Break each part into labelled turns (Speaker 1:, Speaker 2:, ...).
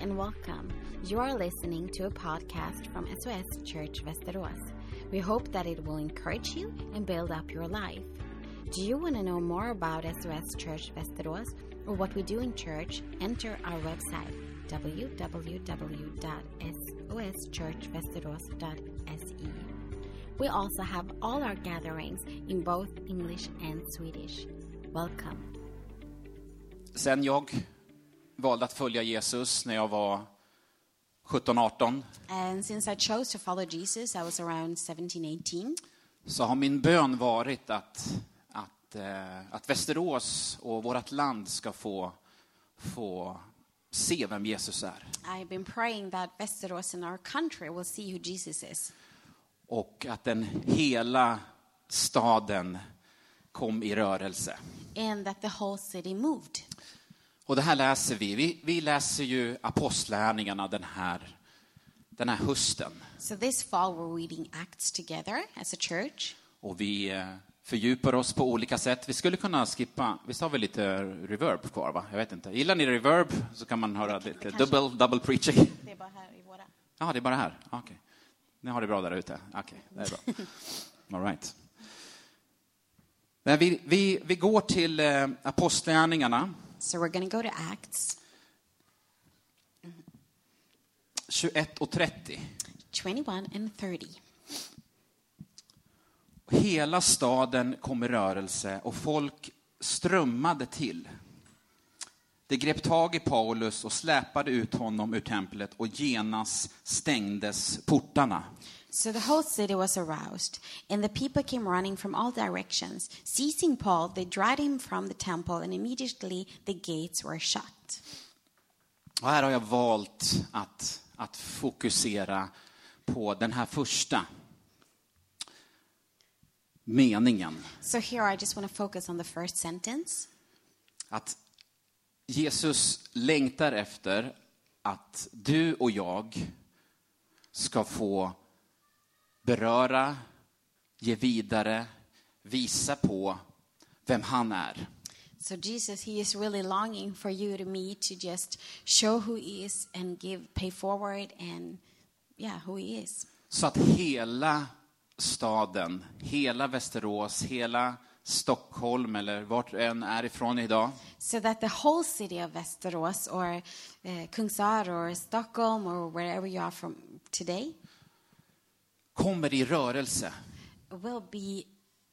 Speaker 1: and welcome. You are listening to a podcast from SOS Church Västerås. We hope that it will encourage you and build up your life. Do you want to know more about SOS Church Västerås or what we do in church? Enter our website www.soschurchvesteros.se. E. We also have all our gatherings in both English and Swedish. Welcome.
Speaker 2: Sen jag valde att följa Jesus när jag var 17-18
Speaker 1: And since I chose to follow Jesus, I was around 17, 18.
Speaker 2: så har min bön varit att, att, eh, att Västerås och vårt land ska få, få se vem Jesus är.
Speaker 1: I've been praying that Västerås in our country will see who Jesus is
Speaker 2: Och att den hela staden kom i rörelse.
Speaker 1: and that the whole city moved.
Speaker 2: Och det här läser vi. Vi, vi läser ju Apostlärningarna den här, den här hösten.
Speaker 1: So this fall, we're reading Acts together as a church.
Speaker 2: Och vi eh, fördjupar oss på olika sätt. Vi skulle kunna skippa, visst har vi lite reverb kvar va? Jag vet inte. Gillar ni reverb så kan man höra lite
Speaker 1: kanske-
Speaker 2: double, double preaching.
Speaker 1: Yes,
Speaker 2: Ja, det är bara här. Ah, Okej. Ni har det bra där ute? Ah, Okej, det är bra. All right. Men vi, vi, vi går till eh, Apostlagärningarna
Speaker 1: So we're going to go to Acts
Speaker 2: 21 och 30.
Speaker 1: 21 and 30.
Speaker 2: Hela staden kom i rörelse och folk strömmade till. De grep tag i Paulus och släpade ut honom ur templet och genast stängdes portarna.
Speaker 1: So the whole city was aroused, and the people came running from all directions. Seizing Paul, they dragged him from the temple, and immediately the gates were shut.
Speaker 2: Och här har jag valt att, att fokusera på den här första meningen.
Speaker 1: So here I just want to focus on the first sentence.
Speaker 2: Att Jesus längtar efter att du och jag ska få beröra, ge vidare, visa på vem han är.
Speaker 1: So Jesus, he is really longing for you to me to just show who he is and give pay forward and yeah, who he is.
Speaker 2: Så att hela staden, hela Västerås, hela Stockholm eller vart du än är ifrån idag
Speaker 1: So that the whole city of Västerås or uh, Kungsar or Stockholm or wherever you are from today
Speaker 2: kommer i rörelse.
Speaker 1: will be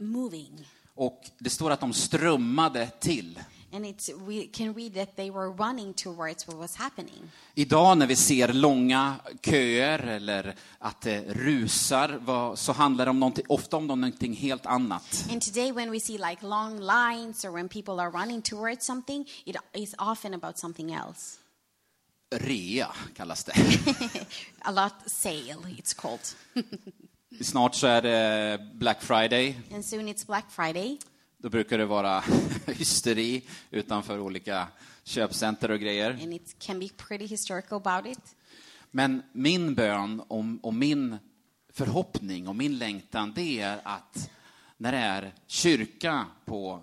Speaker 1: moving.
Speaker 2: Och det står att de strömmade till.
Speaker 1: And it's we can read that they were running towards what was happening.
Speaker 2: Idag när vi ser långa köer eller att det rusar vad- så handlar det om någonting, ofta om någonting helt annat.
Speaker 1: And today when we see like long lines or when people are running towards something, it is often about something else.
Speaker 2: Rea kallas det.
Speaker 1: a lot sale it's called
Speaker 2: Snart så är det Black Friday.
Speaker 1: and soon it's black friday
Speaker 2: Då brukar det vara hysteri utanför olika köpcenter och grejer.
Speaker 1: and it can be pretty historical about it
Speaker 2: Men min bön och, och min förhoppning och min längtan det är att när det är kyrka på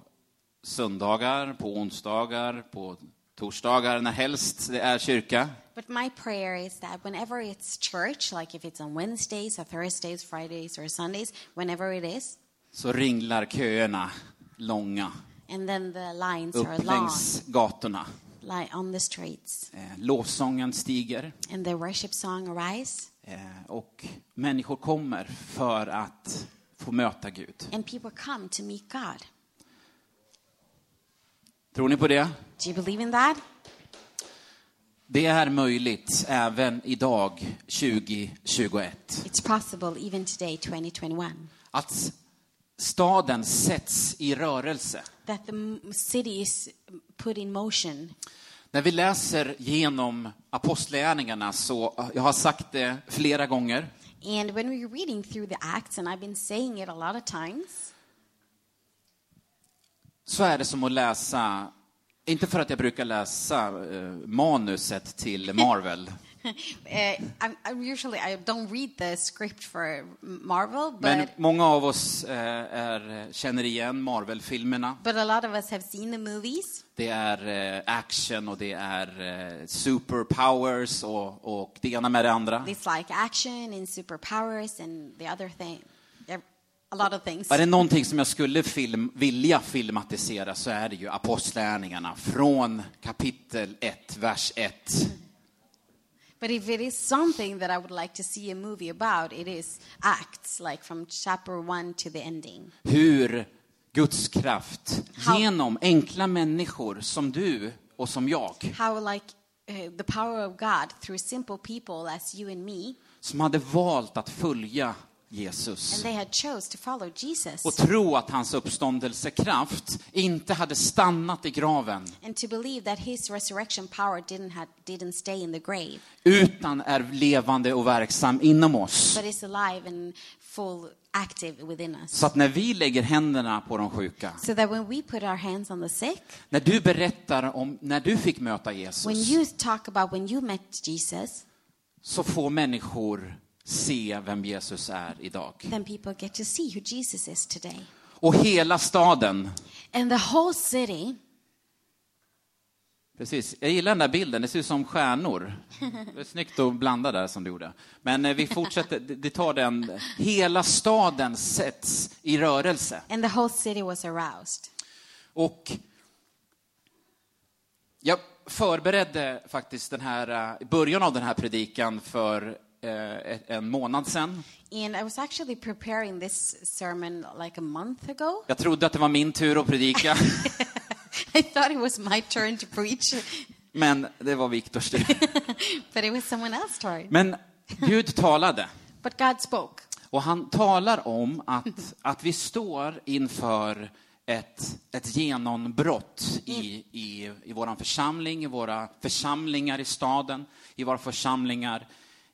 Speaker 2: söndagar, på onsdagar, på torsdagar, när helst det är kyrka,
Speaker 1: but my prayer is that whenever it's church like if it's on wednesdays or thursdays fridays or sundays whenever it is
Speaker 2: så ringlar köerna långa
Speaker 1: and then the lines are
Speaker 2: upp
Speaker 1: long
Speaker 2: längs gatorna.
Speaker 1: like on the streets
Speaker 2: Eh, lovsången stiger
Speaker 1: and the worship song arise
Speaker 2: eh, och människor kommer för att få möta Gud.
Speaker 1: and people come to meet god
Speaker 2: Tror ni på det?
Speaker 1: do you believe in that
Speaker 2: Det är möjligt även idag 2021.
Speaker 1: it's possible even today 2021
Speaker 2: att staden sätts i rörelse.
Speaker 1: that the m- city is put in motion
Speaker 2: När vi läser genom apostlärningarna så, eh, jag har sagt det flera gånger,
Speaker 1: And when we're reading through the Acts, and I've been saying it a lot of times,
Speaker 2: så är det som att läsa, inte för att jag brukar läsa eh, manuset till Marvel,
Speaker 1: Eh, I'm, I'm usually I don't read the script for Marvel,
Speaker 2: Men
Speaker 1: but
Speaker 2: många av oss eh, är, känner igen Marvel-filmerna.
Speaker 1: but a lot of us have seen the movies.
Speaker 2: Det är eh, action och det är eh, superpowers och, och det ena med det andra.
Speaker 1: It's like action and superpowers and the other thing, ev- a lot of things.
Speaker 2: Är det någonting som jag skulle film, vilja filmatisera så är det ju Apostlärningarna från kapitel 1, vers 1.
Speaker 1: But if it is something that I would like to see a movie about, it is Acts, like from chapter one to the ending.
Speaker 2: Hur Guds kraft
Speaker 1: How-
Speaker 2: genom enkla människor som du och som jag,
Speaker 1: How like uh, the power of God through simple people as you and me,
Speaker 2: som hade valt att följa
Speaker 1: and
Speaker 2: Jesus
Speaker 1: they had chose to follow Jesus
Speaker 2: och tro att hans uppståndelsekraft inte hade stannat i graven
Speaker 1: and to believe that His resurrection power didn't had, didn't stay in the grave,
Speaker 2: utan är levande och verksam inom oss.
Speaker 1: but is alive and full active within us.
Speaker 2: Så att när vi lägger händerna på de sjuka,
Speaker 1: So that when we put our hands on the sick,
Speaker 2: när du berättar om när du fick möta
Speaker 1: when
Speaker 2: Jesus,
Speaker 1: you talk about when you met Jesus,
Speaker 2: så får människor se vem Jesus är idag.
Speaker 1: then people get to see who Jesus is today.
Speaker 2: Och hela staden,
Speaker 1: And the whole city
Speaker 2: precis, jag gillar den där bilden, det ser ut som stjärnor. Det är snyggt att blanda där som du gjorde. Men eh, vi fortsätter, det det tar den, hela staden sätts i rörelse.
Speaker 1: And the whole city was aroused.
Speaker 2: Och jag förberedde faktiskt den här, eh, början av den här predikan för eh, ett- en månad sedan.
Speaker 1: And I was actually preparing this sermon like a month ago.
Speaker 2: Jag trodde att det var min tur att predika,
Speaker 1: I thought it was my turn to preach,
Speaker 2: men det var Viktors tur.
Speaker 1: but it was someone else's turn.
Speaker 2: Men Gud talade,
Speaker 1: But God spoke.
Speaker 2: och han talar om att, att vi står inför ett, ett genombrott i, i, i vår församling, i våra församlingar i staden, i våra församlingar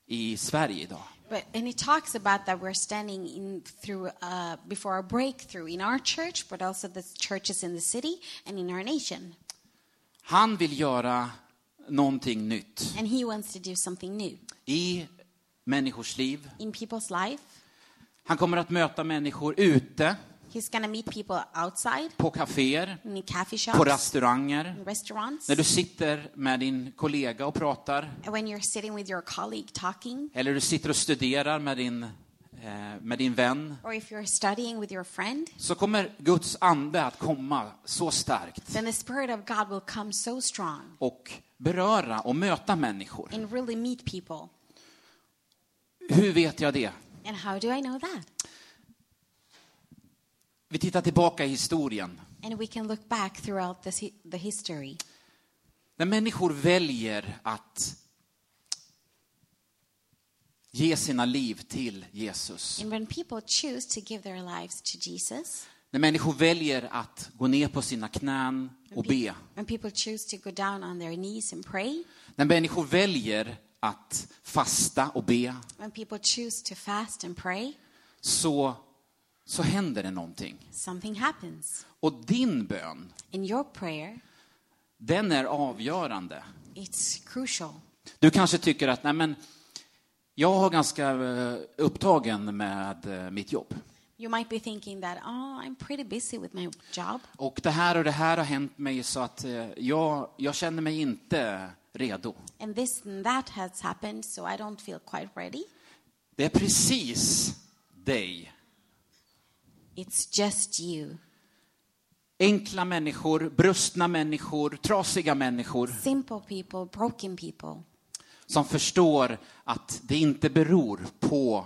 Speaker 2: i Sverige idag.
Speaker 1: But, and he talks about that we're standing in through uh, before a breakthrough in our church, but also the churches in the city and in our nation.
Speaker 2: Han vill göra någonting nytt
Speaker 1: And he wants to do something new
Speaker 2: i människors liv.
Speaker 1: in people's life.
Speaker 2: Han kommer att möta människor ute,
Speaker 1: He's gonna meet people outside
Speaker 2: på kaféer,
Speaker 1: in coffee shops,
Speaker 2: på restauranger,
Speaker 1: in restaurants,
Speaker 2: när du sitter med din kollega och pratar,
Speaker 1: and when you're sitting with your colleague talking.
Speaker 2: eller du sitter och studerar med din, eh, med din vän,
Speaker 1: or if you're studying with your friend,
Speaker 2: så kommer Guds ande att komma så starkt
Speaker 1: then the Spirit of God will come so strong
Speaker 2: och beröra och möta människor.
Speaker 1: and really meet people.
Speaker 2: Hur vet jag det?
Speaker 1: And how do I know that?
Speaker 2: Vi tittar tillbaka i historien.
Speaker 1: And we can look back throughout this, hi- the history.
Speaker 2: När människor väljer att ge sina liv till Jesus,
Speaker 1: And when people choose to give their lives to Jesus,
Speaker 2: när människor väljer att gå ner på sina knän och be,
Speaker 1: when people choose to go down on their knees and pray,
Speaker 2: när människor väljer att fasta och be,
Speaker 1: when people choose to fast and pray,
Speaker 2: så, så händer det någonting.
Speaker 1: something happens.
Speaker 2: Och din bön,
Speaker 1: In your prayer,
Speaker 2: den är avgörande.
Speaker 1: it's crucial.
Speaker 2: Du kanske tycker att, nej men, jag har ganska eh, upptagen med eh, mitt jobb.
Speaker 1: You might be thinking that, oh, I'm pretty busy with my job.
Speaker 2: Och det här och det här har hänt mig så att eh, jag, jag känner mig inte redo.
Speaker 1: and this and that has happened, so I don't feel quite ready.
Speaker 2: Det är precis dig.
Speaker 1: It's just you.
Speaker 2: Enkla människor, brustna människor, trasiga människor
Speaker 1: Simple people, broken people,
Speaker 2: som förstår att det inte beror på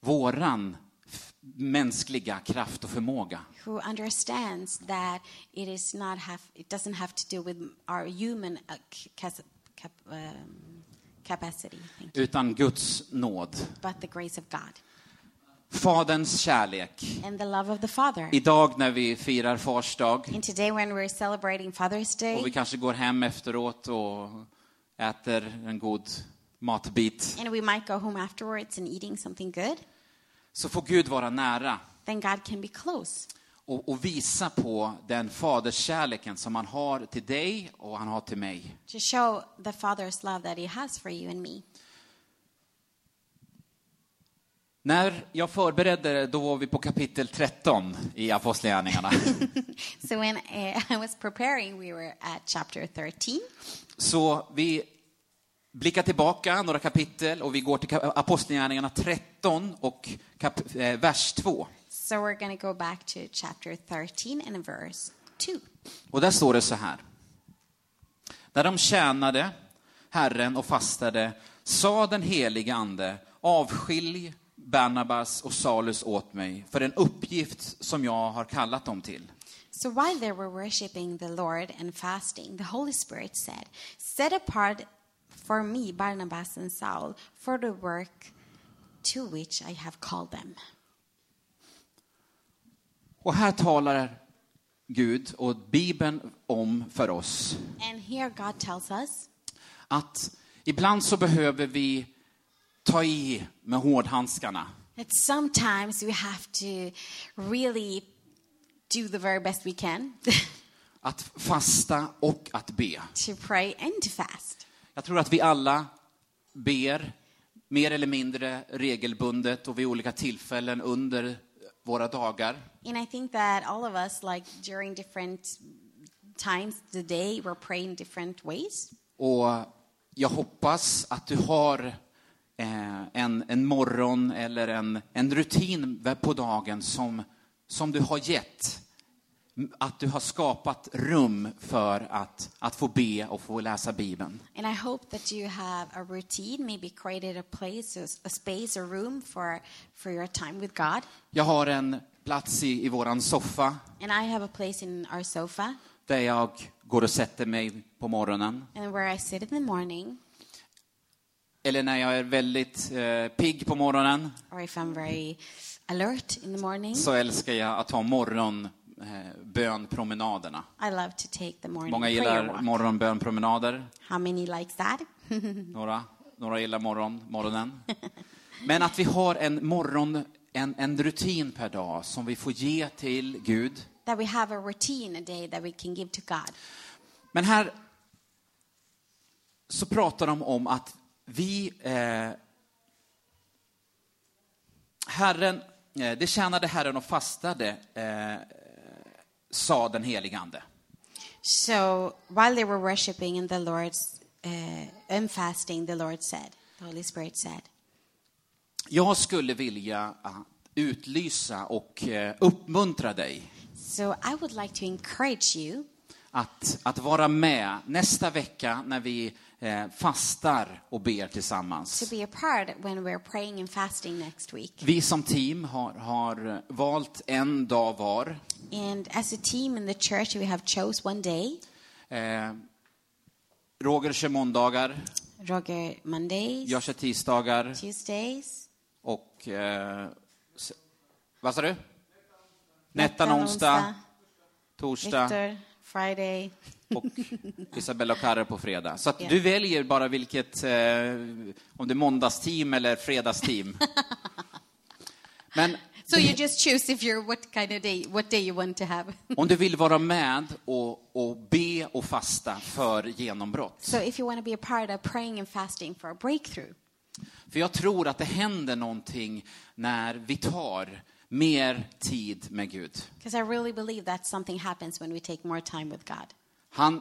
Speaker 2: våran f- mänskliga kraft och förmåga.
Speaker 1: who understands that it is not have, it doesn't have to do with our human uh, c- cas- cap, um, capacity, thank you,
Speaker 2: utan Guds nåd.
Speaker 1: but the grace of God
Speaker 2: Faderns kärlek.
Speaker 1: and the love of the Father.
Speaker 2: Idag när vi firar Fars dag
Speaker 1: And today, when we're celebrating Father's
Speaker 2: och vi
Speaker 1: Day,
Speaker 2: kanske går hem efteråt och äter en god matbit
Speaker 1: and we might go home afterwards and eating something good,
Speaker 2: så får Gud vara nära
Speaker 1: then God can be close
Speaker 2: och, och visa på den faderskärleken som han har till dig och han har till mig.
Speaker 1: to show the Father's love that He has for you and me.
Speaker 2: När jag förberedde det, då var vi på kapitel 13 i Apostlagärningarna.
Speaker 1: So when eh, I was preparing, we were at chapter 13.
Speaker 2: Så vi blickar tillbaka några kapitel och vi går till kap- Apostlagärningarna 13 och kap- eh, vers 2.
Speaker 1: So we're going to go back to chapter 13 and verse 2.
Speaker 2: Och där står det så här. När de tjänade Herren och fastade sa den helige ande avskilj Barnabas och Salus åt mig för den uppgift som jag har kallat dem till.
Speaker 1: So while they were worshiping the Lord and fasting, the Holy Spirit said, Set apart for me Barnabas and Saul for the work to which I have called them.
Speaker 2: Och här talar Gud och Bibeln om för oss
Speaker 1: And here God tells us
Speaker 2: att ibland så behöver vi ta i med hårdhandskarna.
Speaker 1: that sometimes we have to really do the very best we can
Speaker 2: Att fasta och att be.
Speaker 1: to pray and to fast.
Speaker 2: Jag tror att vi alla ber mer eller mindre regelbundet och vid olika tillfällen under våra dagar.
Speaker 1: And I think that all of us, like during different times of the day, we're praying different ways.
Speaker 2: Och jag hoppas att du har eh, en, en morgon eller en, en rutin på dagen som, som du har gett. Att du har skapat rum för att, att få be och få läsa Bibeln.
Speaker 1: And I hope that you have a routine, maybe created a place, a, a space, a room for, for your time with God.
Speaker 2: Jag har en plats i, i våran soffa
Speaker 1: And I have a place in our sofa
Speaker 2: där jag går och sätter mig på morgonen.
Speaker 1: and where I sit in the morning,
Speaker 2: Eller när jag är väldigt eh, pigg på morgonen
Speaker 1: or if I'm very alert in the morning,
Speaker 2: så älskar jag att ha morgonbönpromenaderna.
Speaker 1: I love to take the morning
Speaker 2: Många
Speaker 1: prayer
Speaker 2: gillar
Speaker 1: walk.
Speaker 2: morgonbönpromenader,
Speaker 1: How many likes that?
Speaker 2: några, några gillar morgon, morgonen. Men att vi har en morgon, en, en rutin per dag som vi får ge till Gud.
Speaker 1: that we have a routine, a day that we can give to God.
Speaker 2: Men här så pratar de om att vi... Eh, herren, eh, det tjänade Herren och fastade, eh, sa den helige Ande.
Speaker 1: So while they were worshiping in the Lord's uh, and fasting, the Lord said, the Holy Spirit said,
Speaker 2: Jag skulle vilja att utlysa och eh, uppmuntra dig
Speaker 1: So I would like to encourage you
Speaker 2: att, att vara med nästa vecka när vi eh, fastar och ber tillsammans.
Speaker 1: to be a part when we're praying and fasting next week.
Speaker 2: Vi som team har, har valt en dag var.
Speaker 1: And as a team in the church, we have chose one day,
Speaker 2: Eh, Roger kör måndagar,
Speaker 1: Roger Mondays,
Speaker 2: jag kör tisdagar
Speaker 1: Tuesdays,
Speaker 2: och... Eh, s- vad sa du?
Speaker 1: Nettan
Speaker 2: Nettan onsdag, torsdag
Speaker 1: Victor Friday.
Speaker 2: och Isabella och Karre på fredag. Så att
Speaker 1: Ja.
Speaker 2: du väljer bara vilket... Eh, om det är måndagsteam eller fredagsteam. Men
Speaker 1: So you just choose if you're what kind of day, what day you want to have.
Speaker 2: om du vill vara med och, och be och fasta för genombrott.
Speaker 1: so if you want to be a part of praying and fasting for a breakthrough.
Speaker 2: För jag tror att det händer någonting när vi tar mer tid med Gud.
Speaker 1: Because I really believe that something happens when we take more time with God.
Speaker 2: Han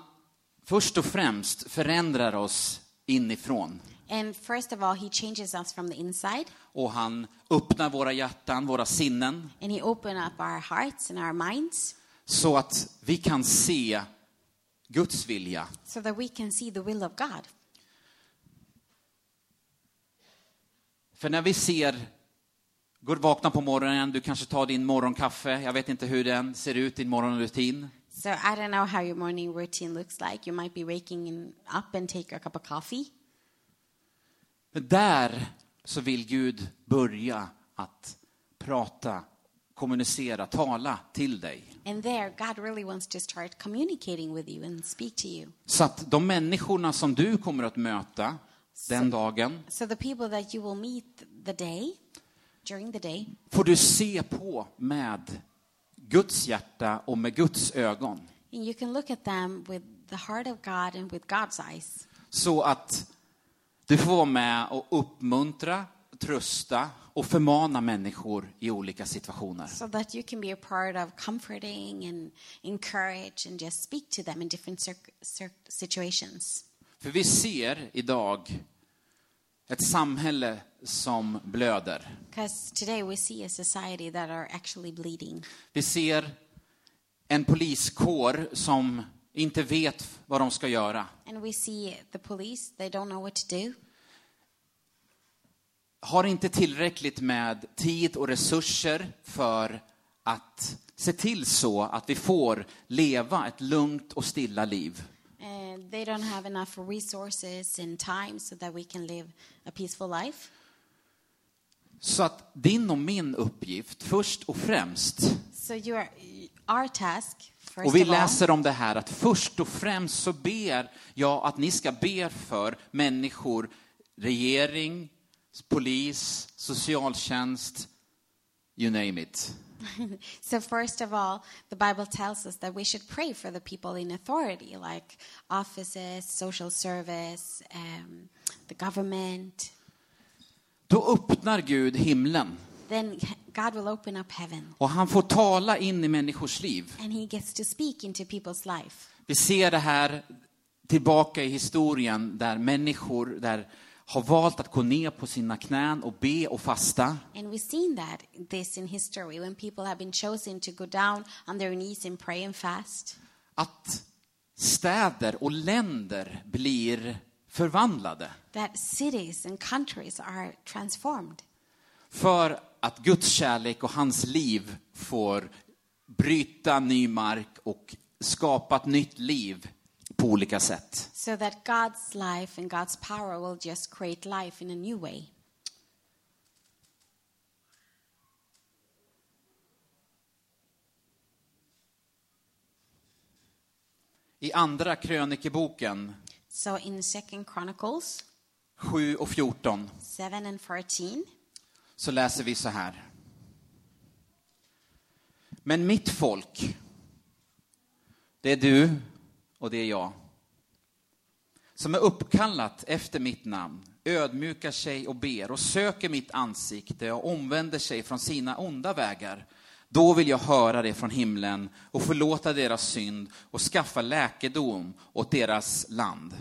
Speaker 2: först och främst förändrar oss inifrån.
Speaker 1: And first of all, He changes us from the inside
Speaker 2: Och han öppnar våra hjärtan, våra sinnen,
Speaker 1: and He opens up our hearts and our minds
Speaker 2: så att vi kan se Guds vilja.
Speaker 1: so that we can see the will of God.
Speaker 2: För när vi ser, går vakna på morgonen, du kanske tar din morgonkaffe, jag vet inte hur den ser ut, din morgonrutin.
Speaker 1: So I don't know how your morning routine looks like. You might be waking in- up and take a cup of coffee.
Speaker 2: Men där så vill Gud börja att prata, kommunicera, tala till dig.
Speaker 1: And there, God really wants to start communicating with you and speak to you.
Speaker 2: Så att de människorna som du kommer att möta den dagen
Speaker 1: So the people that you will meet the day, during the day,
Speaker 2: får du se på med Guds hjärta och med Guds ögon.
Speaker 1: And you can look at them with the heart of God and with God's eyes.
Speaker 2: Så att du får vara med och uppmuntra, trösta och förmana människor i olika situationer.
Speaker 1: So that you can be a part of comforting and encourage and just speak to them in different cir- cir- situations.
Speaker 2: För vi ser idag ett samhälle som blöder.
Speaker 1: Because today we see a society that are actually bleeding.
Speaker 2: Vi ser en poliskår som inte vet vad de ska göra.
Speaker 1: And we see the police, they don't know what to do.
Speaker 2: Har inte tillräckligt med tid och resurser för att se till så att vi får leva ett lugnt och stilla liv.
Speaker 1: And they don't have enough resources and time so that we can live a peaceful life.
Speaker 2: Så att din och min uppgift först och främst
Speaker 1: So your, our task, first
Speaker 2: Och vi
Speaker 1: of all,
Speaker 2: läser om det här att först och främst så ber jag att ni ska be för människor, regering, polis, socialtjänst, you name it.
Speaker 1: So, first of all, the Bible tells us that we should pray for the people in authority, like offices, social service, um, the government.
Speaker 2: Då öppnar Gud himlen
Speaker 1: Then God will open up heaven
Speaker 2: och han får tala in i människors liv.
Speaker 1: and He gets to speak into people's life.
Speaker 2: Vi ser det här tillbaka i historien där människor där har valt att gå ner på sina knän och be och fasta.
Speaker 1: And we've seen that this in history when people have been chosen to go down on their knees and pray and fast,
Speaker 2: Att städer och länder blir förvandlade.
Speaker 1: that cities and countries are transformed
Speaker 2: För att Guds kärlek och hans liv får bryta ny mark och skapa ett nytt liv på olika sätt.
Speaker 1: so that God's life and God's power will just create life in a new way.
Speaker 2: I andra krönikeboken
Speaker 1: So, in Second Chronicles,
Speaker 2: 7 och 14
Speaker 1: 7 and 14.
Speaker 2: så läser vi så här. Men mitt folk, det är du och det är jag, som är uppkallat efter mitt namn, ödmjukar sig och ber och söker mitt ansikte och omvänder sig från sina onda vägar. Då vill jag höra det från himlen och förlåta deras synd och skaffa läkedom åt deras land.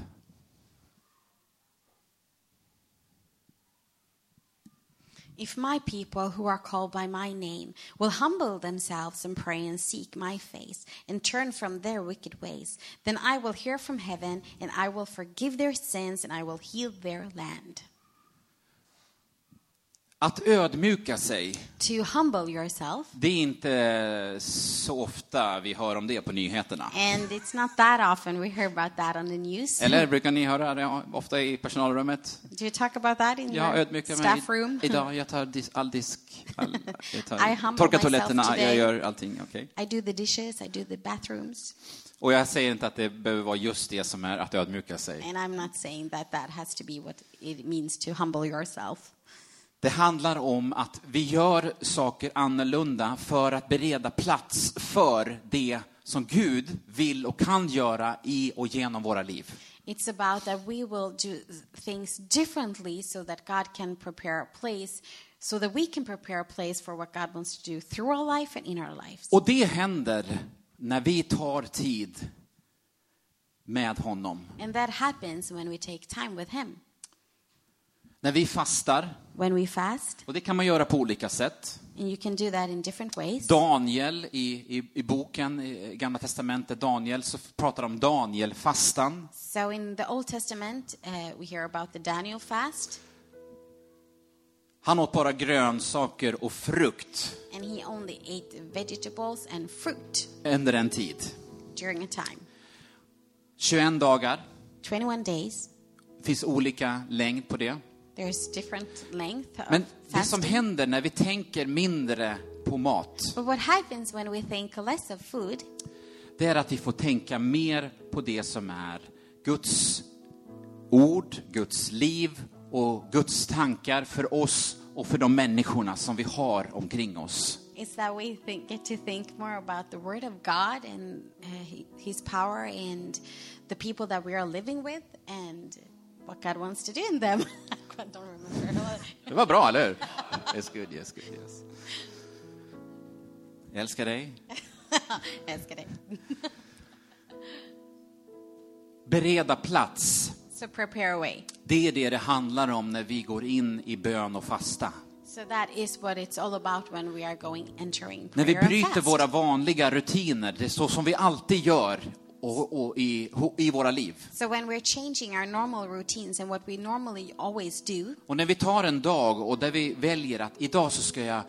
Speaker 1: If my people who are called by my name will humble themselves and pray and seek my face and turn from their wicked ways, then I will hear from heaven and I will forgive their sins and I will heal their land.
Speaker 2: Att ödmjuka sig
Speaker 1: To humble yourself,
Speaker 2: Det är inte så ofta vi hör om det på nyheterna.
Speaker 1: and it's not that often we hear about that on the news.
Speaker 2: Eller brukar ni höra det ofta i personalrummet?
Speaker 1: Do you talk about that in
Speaker 2: Jag
Speaker 1: your
Speaker 2: ödmjukar mig
Speaker 1: staff room?
Speaker 2: i- idag. Jag tar dis, all disk. All, jag
Speaker 1: I
Speaker 2: tar,
Speaker 1: humble
Speaker 2: torkar
Speaker 1: myself
Speaker 2: toaletterna.
Speaker 1: today.
Speaker 2: Jag gör allting. okej?
Speaker 1: I do the dishes, I do the bathrooms,
Speaker 2: Och jag säger inte att det behöver vara just det som är att ödmjuka sig.
Speaker 1: and I'm not saying that that has to be what it means to humble yourself.
Speaker 2: Det handlar om att vi gör saker annorlunda för att bereda plats för det som Gud vill och kan göra i och genom våra liv.
Speaker 1: It's about that we will do things differently so that God can prepare a place, so that we can prepare a place for what God wants to do through our life and in our lives.
Speaker 2: Och det händer när vi tar tid med honom.
Speaker 1: And that happens when we take time with Him.
Speaker 2: När vi fastar,
Speaker 1: When we fast,
Speaker 2: och det kan man göra på olika sätt.
Speaker 1: and you can do that in different ways.
Speaker 2: Daniel i, i, i boken, i Gamla Testamentet, Daniel, så pratar om Danielfastan.
Speaker 1: So in the Old Testament, uh, we hear about the Daniel fast,
Speaker 2: Han åt bara grönsaker och frukt
Speaker 1: and he only ate vegetables and fruit
Speaker 2: under en tid.
Speaker 1: during a time
Speaker 2: 21 dagar,
Speaker 1: 21 days.
Speaker 2: det finns olika längd på det.
Speaker 1: There's different length of
Speaker 2: Men det er som
Speaker 1: fasting.
Speaker 2: händer när vi tänker mindre på mat,
Speaker 1: But what happens when we think less of food
Speaker 2: det är att vi får tänka mer på det som är Guds ord, Guds liv och Guds tankar för oss och för de människorna som vi har omkring oss.
Speaker 1: is that we think, get to think more about the Word of God and uh, he- His power and the people that we are living with and what God wants to do in them. I don't remember.
Speaker 2: Det var bra, eller hur? Yes, good, yes, good, yes. Jag älskar dig.
Speaker 1: Jag älskar dig.
Speaker 2: Bereda plats.
Speaker 1: So prepare a way.
Speaker 2: Det är det det handlar om när vi går in i bön och fasta.
Speaker 1: So that is what it's all about when we are going entering
Speaker 2: När
Speaker 1: prayer
Speaker 2: vi
Speaker 1: and
Speaker 2: bryter
Speaker 1: fast.
Speaker 2: våra vanliga rutiner, det är så som vi alltid gör och, och, i, i våra liv.
Speaker 1: So when we're changing our normal routines and what we normally always do,
Speaker 2: Och när vi tar en dag och där vi väljer att idag så ska jag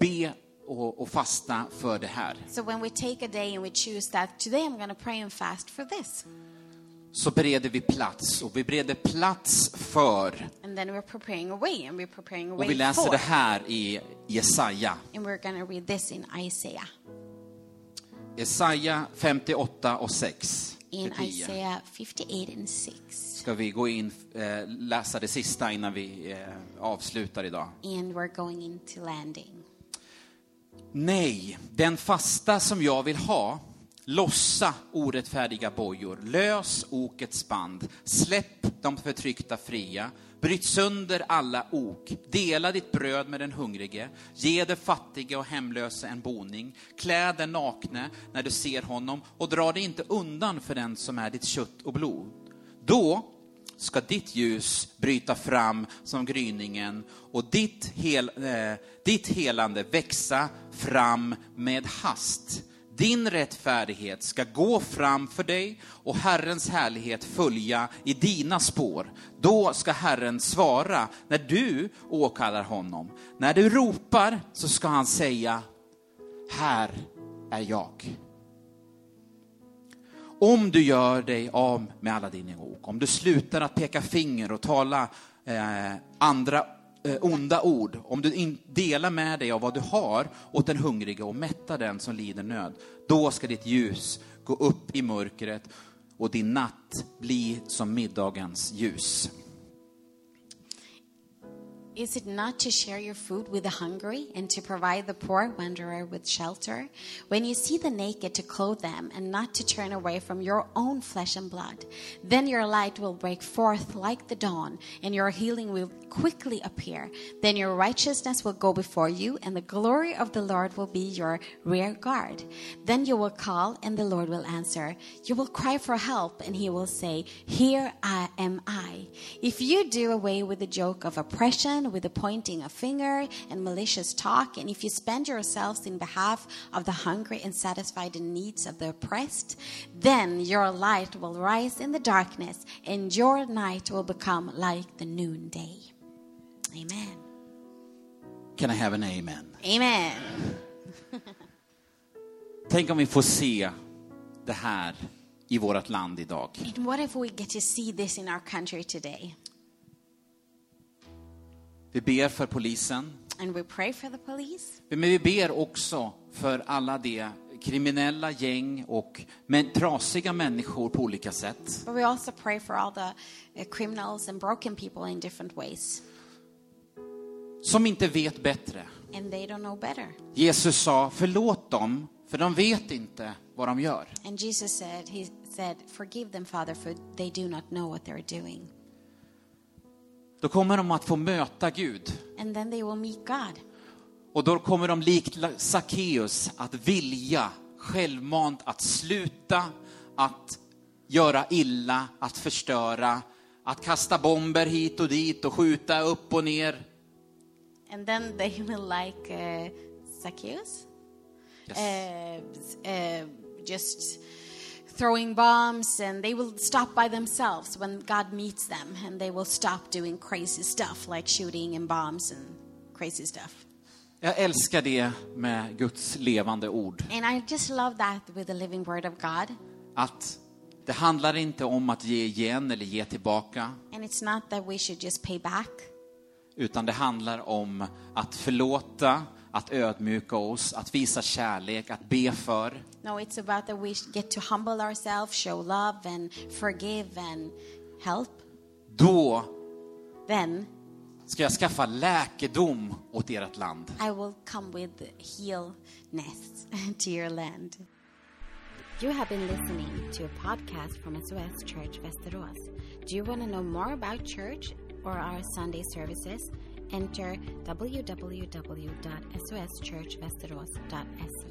Speaker 2: be och, och fasta för det här.
Speaker 1: so when we take a day and we choose that today I'm going to pray and fast for this,
Speaker 2: Så bereder vi plats och vi bereder plats för.
Speaker 1: and then we're preparing a way and we're preparing a
Speaker 2: Och vi
Speaker 1: way
Speaker 2: läser
Speaker 1: for,
Speaker 2: det här i Jesaja.
Speaker 1: and we're going to read this in Isaiah,
Speaker 2: Jesaja 58 och 6.
Speaker 1: in
Speaker 2: 10.
Speaker 1: Isaiah 58 and 6,
Speaker 2: Ska vi gå in, eh, läsa det sista innan vi eh, avslutar idag.
Speaker 1: and we're going into landing.
Speaker 2: Nej, den fasta som jag vill ha, lossa orättfärdiga bojor, lös okets band, släpp de förtryckta fria, bryt sönder alla ok, dela ditt bröd med den hungrige, ge de fattiga och hemlösa en boning, klä den nakne när du ser honom och dra dig inte undan för den som är ditt kött och blod. Då ska ditt ljus bryta fram som gryningen och ditt, hel, eh, ditt helande växa fram med hast. Din rättfärdighet ska gå fram för dig och Herrens härlighet följa i dina spår. Då ska Herren svara när du åkallar honom. När du ropar så ska han säga, här är jag. Om du gör dig av med alla dina ok, om du slutar att peka finger och tala eh, andra eh, onda ord, om du in, delar med dig av vad du har åt den hungrige och mättar den som lider nöd, då ska ditt ljus gå upp i mörkret och din natt bli som middagens ljus.
Speaker 1: Is it not to share your food with the hungry and to provide the poor wanderer with shelter? When you see the naked, to clothe them and not to turn away from your own flesh and blood. Then your light will break forth like the dawn, and your healing will quickly appear. Then your righteousness will go before you, and the glory of the Lord will be your rear guard. Then you will call, and the Lord will answer. You will cry for help, and he will say, Here I am I. If you do away with the joke of oppression, with the pointing of finger and malicious talk, and if you spend yourselves in behalf of the hungry and satisfy the needs of the oppressed, then your light will rise in the darkness, and your night will become like the noonday. Amen.
Speaker 2: Can I have an amen?
Speaker 1: Amen.
Speaker 2: Tänk om vi får se det här i vårt land idag.
Speaker 1: And what if we get to see this in our country today?
Speaker 2: Vi ber för polisen,
Speaker 1: And we pray for the police.
Speaker 2: Men vi ber också för alla de kriminella gäng och men, trasiga människor på olika sätt.
Speaker 1: But we also pray for all the uh, criminals and broken people in different ways,
Speaker 2: Som inte vet bättre.
Speaker 1: and they don't know better.
Speaker 2: Jesus sa, förlåt dem, för de vet inte vad de gör.
Speaker 1: And Jesus said, He said, Forgive them, Father, for they do not know what they're doing.
Speaker 2: Då kommer de att få möta Gud.
Speaker 1: And then they will meet God.
Speaker 2: Och då kommer de likt La- Sackeus att vilja självmant att sluta, att göra illa, att förstöra, att kasta bomber hit och dit och skjuta upp och ner.
Speaker 1: And then they will, like uh, Zacchaeus, uh,
Speaker 2: Yes.
Speaker 1: uh, just throwing bombs, and they will stop by themselves when God meets them, and they will stop doing crazy stuff like shooting and bombs and crazy stuff.
Speaker 2: Jag älskar det med Guds levande ord.
Speaker 1: And I just love that with the living word of God.
Speaker 2: Att det handlar inte om att ge igen eller ge tillbaka,
Speaker 1: And it's not that we should just pay back,
Speaker 2: utan det handlar om att förlåta, att ödmjuka oss, att visa kärlek, att be för.
Speaker 1: no, it's about that we should get to humble ourselves, show love, and forgive and help.
Speaker 2: Då
Speaker 1: Then
Speaker 2: ska jag skaffa läkedom åt ert land.
Speaker 1: I will come with healness to your land. You have been listening to a podcast from SOS Church Västerås. Do you want to know more about church or our Sunday services? Enter www.soschurchvesteros.se.